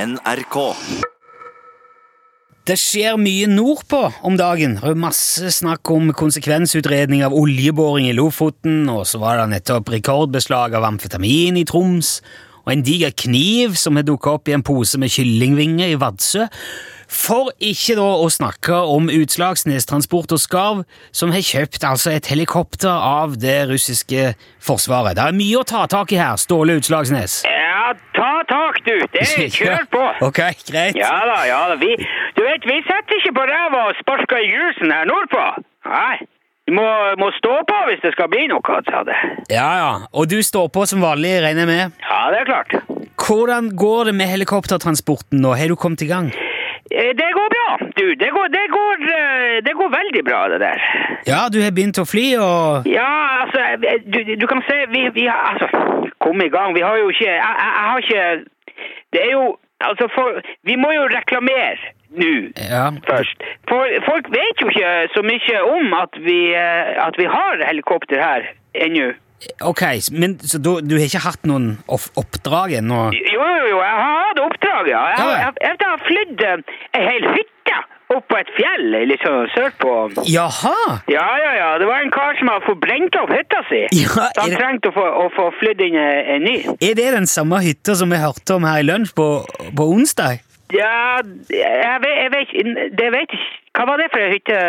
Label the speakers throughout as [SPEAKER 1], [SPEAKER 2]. [SPEAKER 1] NRK.
[SPEAKER 2] Det skjer mye nordpå om dagen. Det er jo masse snakk om konsekvensutredning av oljeboring i Lofoten, og så var det nettopp rekordbeslag av amfetamin i Troms, og en diger kniv som har dukket opp i en pose med kyllingvinger i Vadsø. For ikke da å snakke om Utslagsnes Transport og Skarv, som har kjøpt altså et helikopter av det russiske forsvaret. Det er mye å ta tak i her, Ståle Utslagsnes.
[SPEAKER 3] Ja, ta tak, du. Det er kjør på.
[SPEAKER 2] Ok, greit.
[SPEAKER 3] Ja da, ja da. Vi, du vet, vi setter ikke på ræva og sparker i grusen her nordpå. Nei. Du må, må stå på hvis det skal bli noe, sa det.
[SPEAKER 2] Ja, ja. Og du står på som vanlig, regner jeg med?
[SPEAKER 3] Ja, det er klart.
[SPEAKER 2] Hvordan går det med helikoptertransporten nå? Har du kommet i gang?
[SPEAKER 3] Eh, Det går bra, du. Det går, det går, eh, det går veldig bra, det der.
[SPEAKER 2] Ja, du har begynt å fly, og
[SPEAKER 3] Ja, altså, eh, du, du kan se vi, vi har Altså, kom i gang. Vi har jo ikke Jeg, jeg, jeg har ikke Det er jo Altså, for, vi må jo reklamere nå.
[SPEAKER 2] Ja.
[SPEAKER 3] først. For folk vet jo ikke så mye om at vi, eh, at vi har helikopter her ennå.
[SPEAKER 2] Ok, men så du, du har ikke hatt noen off- oppdrag ennå?
[SPEAKER 3] Jo, jo, jo, jeg har hatt oppdrag, ja. Jeg,
[SPEAKER 2] Ja, ja.
[SPEAKER 3] jeg, jeg, jeg har flydd eh, ei hel hytte opp på et fjell litt sånn sørpå.
[SPEAKER 2] Jaha!
[SPEAKER 3] Ja, ja, ja. Det var en kar som har forbrent opp hytta si.
[SPEAKER 2] Ja,
[SPEAKER 3] Så han
[SPEAKER 2] er det-
[SPEAKER 3] trengte å få, å få flydd inn ei ei ny.
[SPEAKER 2] Er det den samme hytta som vi hørte om her i lunsj på, på onsdag?
[SPEAKER 3] Ja, jeg vet, jeg vet ikke Det vet jeg ikke. Hva var det for ei hytte?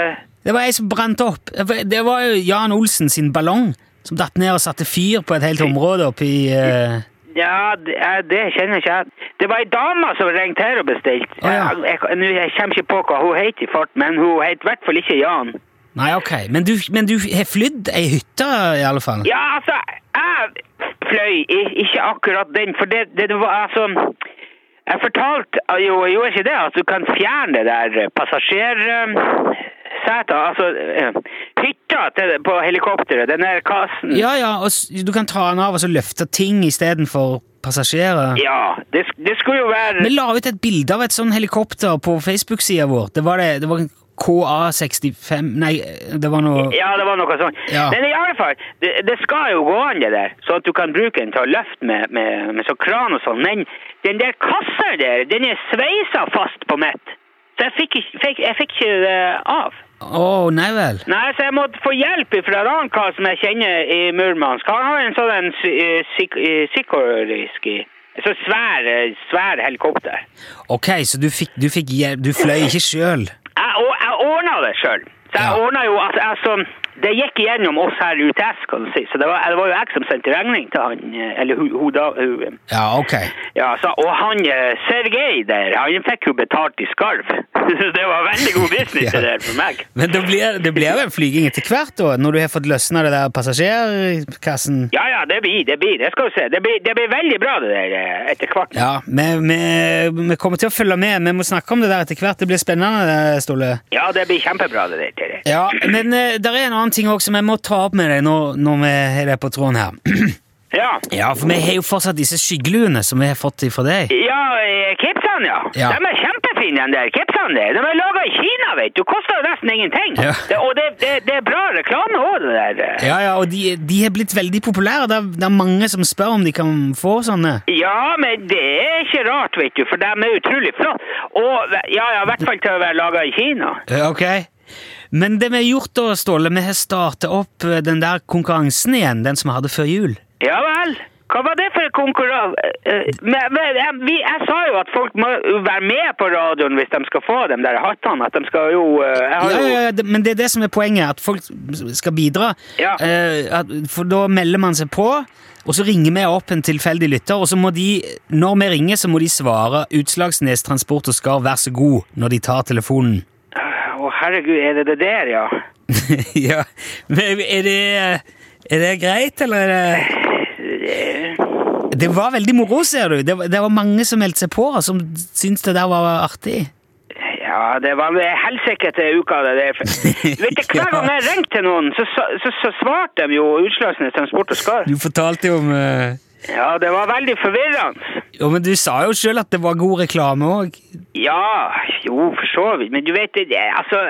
[SPEAKER 2] Det var ei som brant opp. Det var jo Jan Olsen sin ballong som datt ned og satte fyr på et helt område oppi uh...
[SPEAKER 3] Ja, det, jeg- det kjenner ikke jeg. Det var ei dame som ringte her og bestilte.
[SPEAKER 2] Å, ja.
[SPEAKER 3] Jeg, jeg, nå- jeg kommer ikke på hva hun het i fart, men hun het i hvert fall ikke Jan.
[SPEAKER 2] Nei, ok. Men du, men du har flydd ei hytte, i alle fall?
[SPEAKER 3] Ja, altså, jeg fløy i- ikke akkurat den, for det, det, det var altså Jeg fortalte eh, jo, jo ikke det, at du kan fjerne det der eh, passasjersetet, altså eh, hytta til, på helikopteret, den der kassen.
[SPEAKER 2] Ja, ja, og s- du kan ta den av og så løfte ting istedenfor passasjerer.
[SPEAKER 3] Ja, det, sk- det skulle jo være
[SPEAKER 2] Vi la ut et bilde av et sånn helikopter på Facebook-sida vår. Det var det, det var en KA65 Nei, det var noe
[SPEAKER 3] Ja, det var noe sånt.
[SPEAKER 2] Ja.
[SPEAKER 3] Men i alle fall, det, det skal jo gå an det der, så at du kan bruke den til å løfte med, med, med sånn kran og sånn. Men den der kassa der, den er sveisa fast på mitt. Så jeg fikk, ikke- fikk, jeg fikk ikke det av.
[SPEAKER 2] Å, nei vel.
[SPEAKER 3] Nei, så jeg måtte få hjelp fra en annen kar som jeg kjenner i Murmansk. Han har en sånn en sy- eh, syk- eh, sikorisk i. Så svær, eh, svær helikopter.
[SPEAKER 2] Ok, så du fikk, du fikk hjelp Du fløy ikke sjøl?
[SPEAKER 3] Jeg, å- jeg ordna det sjøl. Så jeg
[SPEAKER 2] Ja.
[SPEAKER 3] ordnet jo altså, altså, Det gikk igjennom oss her i UTS, kan du si. Så det var, det var jo jeg som sendte regning til han. eh, Eller hun, hun da. Hun, eh,
[SPEAKER 2] Ja, ok.
[SPEAKER 3] ja, så, og han eh, Sergej der, han fikk jo betalt i skarv. Så det var veldig god business
[SPEAKER 2] Ja.
[SPEAKER 3] det der for meg.
[SPEAKER 2] Men det blir, det blir jo en flyging etter hvert, da, når du har fått løsna det der passasjerkassen?
[SPEAKER 3] Ja ja, det blir, det blir. Det skal du se. Det blir, det blir veldig bra, det der eh, etter hvert.
[SPEAKER 2] Ja, vi, vi, vi kommer til å følge med. Vi må snakke om det der etter hvert. Det blir spennende, Ståle.
[SPEAKER 3] Ja, det blir kjempebra, det der. Terje.
[SPEAKER 2] Ja, men det er en annen ting også som jeg må ta opp med deg når, når vi har det på tråden her.
[SPEAKER 3] Ja.
[SPEAKER 2] Ja, for vi har jo fortsatt disse skyggeluene som vi har fått fra deg.
[SPEAKER 3] Ja, eh, Kipsene, ja.
[SPEAKER 2] Ja.
[SPEAKER 3] De er kjempefine, de der Kipsene der. De er laga i Kina, vet du. Koster jo nesten ingenting.
[SPEAKER 2] Ja.
[SPEAKER 3] Det, og det, det, det er bra reklame òg, det der.
[SPEAKER 2] Ja, ja, og de, de har blitt veldig populære. Det er, det er mange som spør om de kan få sånne.
[SPEAKER 3] Ja, men det er ikke rart, vet du, for de er utrolig flotte. Og ja, ja, i hvert fall til å være laga i Kina.
[SPEAKER 2] Ja, Eh, Ok. Men det vi har gjort da, Ståle, vi har startet opp eh, den der konkurransen igjen, den som vi hadde før jul.
[SPEAKER 3] Ja vel. Hva var det for konkurranse? Men, men jeg, vi, jeg sa jo at folk må jo være med på radioen hvis de skal få de der hattene. At de skal jo eh, jeg
[SPEAKER 2] Ja,
[SPEAKER 3] har jo
[SPEAKER 2] ja, ja, det- men det er det som er poenget, at folk skal bidra.
[SPEAKER 3] Ja.
[SPEAKER 2] Eh, at, for da melder man seg på, og så ringer vi opp en tilfeldig lytter, og så må de, når vi ringer, så må de svare Utslagsnes Transport og Skar, vær så god, når de tar telefonen.
[SPEAKER 3] Å, herregud, er det det der, ja?
[SPEAKER 2] ja, men er det, er det greit, eller er det Det var veldig moro, ser du. Det, var- det var mange som meldte seg på, som syntes det der var artig.
[SPEAKER 3] Ja, det var vel helsike til uka det der. Vet du, hver
[SPEAKER 2] Ja.
[SPEAKER 3] gang jeg ringte til noen, så, så, så, så svarte de jo utslagsende transport og skar.
[SPEAKER 2] Du fortalte jo om eh,
[SPEAKER 3] Ja, det var veldig forvirrende.
[SPEAKER 2] Jo, men du sa jo sjøl at det var god reklame òg.
[SPEAKER 3] Ja, jo, for så vidt. Men du vet, det, det- altså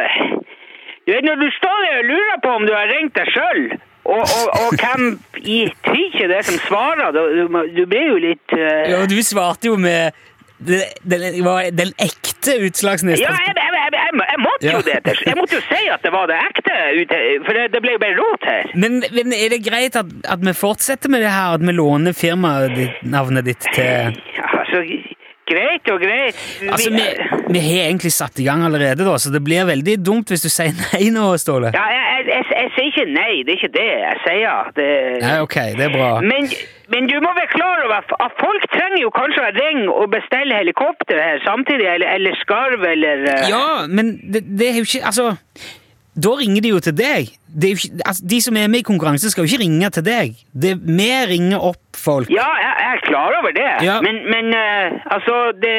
[SPEAKER 3] Du vet, når du står der og lurer på om du har ringt deg sjøl, og, og, og hvem i tyke det er som svarer, da- du, må- du blir jo litt eh,
[SPEAKER 2] Ja, og du svarte jo med det- den var den ekte utslagsnes.
[SPEAKER 3] Ja, jeg, jeg, jeg, jeg, jeg måtte jo
[SPEAKER 2] Ja.
[SPEAKER 3] det. til- Jeg måtte jo si at det var det ekte, ut- for det, det ble jo bare rot her.
[SPEAKER 2] Men, men er det greit at, at vi fortsetter med det her, at vi låner firmaet ditt, navnet ditt til
[SPEAKER 3] Ja, altså, greit og greit. Vi-
[SPEAKER 2] Altså, vi, vi har egentlig satt i gang allerede, da, så det blir veldig dumt hvis du sier nei nå, Ståle.
[SPEAKER 3] Ja, jeg, jeg, jeg, jeg sier ikke nei, det er ikke det jeg sier. Det...
[SPEAKER 2] Nei, ok, det er bra.
[SPEAKER 3] Men, men du må være klar over at- at folk trenger jo kanskje å ringe og bestille helikopter her samtidig, eller, eller skarv, eller eh,
[SPEAKER 2] Ja, men det, det er jo ikke Altså, da ringer de jo til deg. Det er jo ikke, altså, de som er med i konkurranse, skal jo ikke ringe til deg. Det, vi ringer opp folk.
[SPEAKER 3] Ja, jeg, jeg er klar over det,
[SPEAKER 2] Ja.
[SPEAKER 3] men, men eh, altså det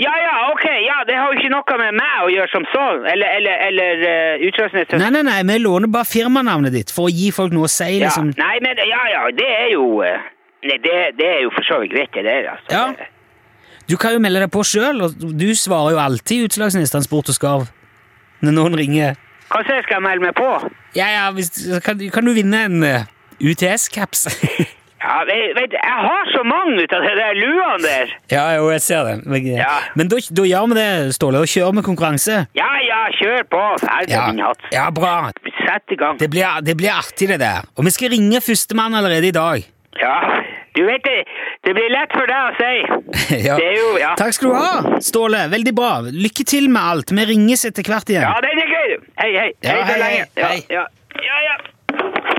[SPEAKER 3] Ja ja, ok, ja, det har jo ikke noe med meg å gjøre som så, eller, eller, eller eh, Utslagsnes.
[SPEAKER 2] Nei, nei, nei, vi låner bare firmanavnet ditt for å gi folk noe å si,
[SPEAKER 3] Ja.
[SPEAKER 2] liksom.
[SPEAKER 3] Nei, men ja ja, det er jo eh, Nei, det, det er jo for så vidt greit, det der, altså.
[SPEAKER 2] Ja. Du kan jo melde deg på sjøl, og du svarer jo alltid Utslagsnes Transport og Skarv når noen ringer.
[SPEAKER 3] Kanskje jeg skal melde meg på?
[SPEAKER 2] Ja, ja, hvis, kan, kan du vinne en eh, UTS-caps?
[SPEAKER 3] Ja, ve- vet, du, jeg har så mange ut av de der luene der.
[SPEAKER 2] ja, jo, jeg ser det. Men, eh,
[SPEAKER 3] Ja.
[SPEAKER 2] men da, da gjør vi det, Ståle, og kjører med konkurranse.
[SPEAKER 3] Ja ja, kjør på. Herre
[SPEAKER 2] Ja,
[SPEAKER 3] min hatt.
[SPEAKER 2] ja bra.
[SPEAKER 3] Sett i gang.
[SPEAKER 2] Det blir, det blir artig, det der. Og vi skal ringe førstemann allerede i dag.
[SPEAKER 3] Ja. Du vet det, det blir lett for deg å si.
[SPEAKER 2] Ja.
[SPEAKER 3] Det er jo, ja.
[SPEAKER 2] Takk skal du ha, Ståle. Veldig bra. Lykke til med alt. Vi ringes etter hvert igjen.
[SPEAKER 3] Ja, den er gøy. Hei, hei.
[SPEAKER 2] Ja,
[SPEAKER 3] hei, så
[SPEAKER 2] hei,
[SPEAKER 3] lenge.
[SPEAKER 2] hei, hei.
[SPEAKER 3] Ja, ja. ja, ja.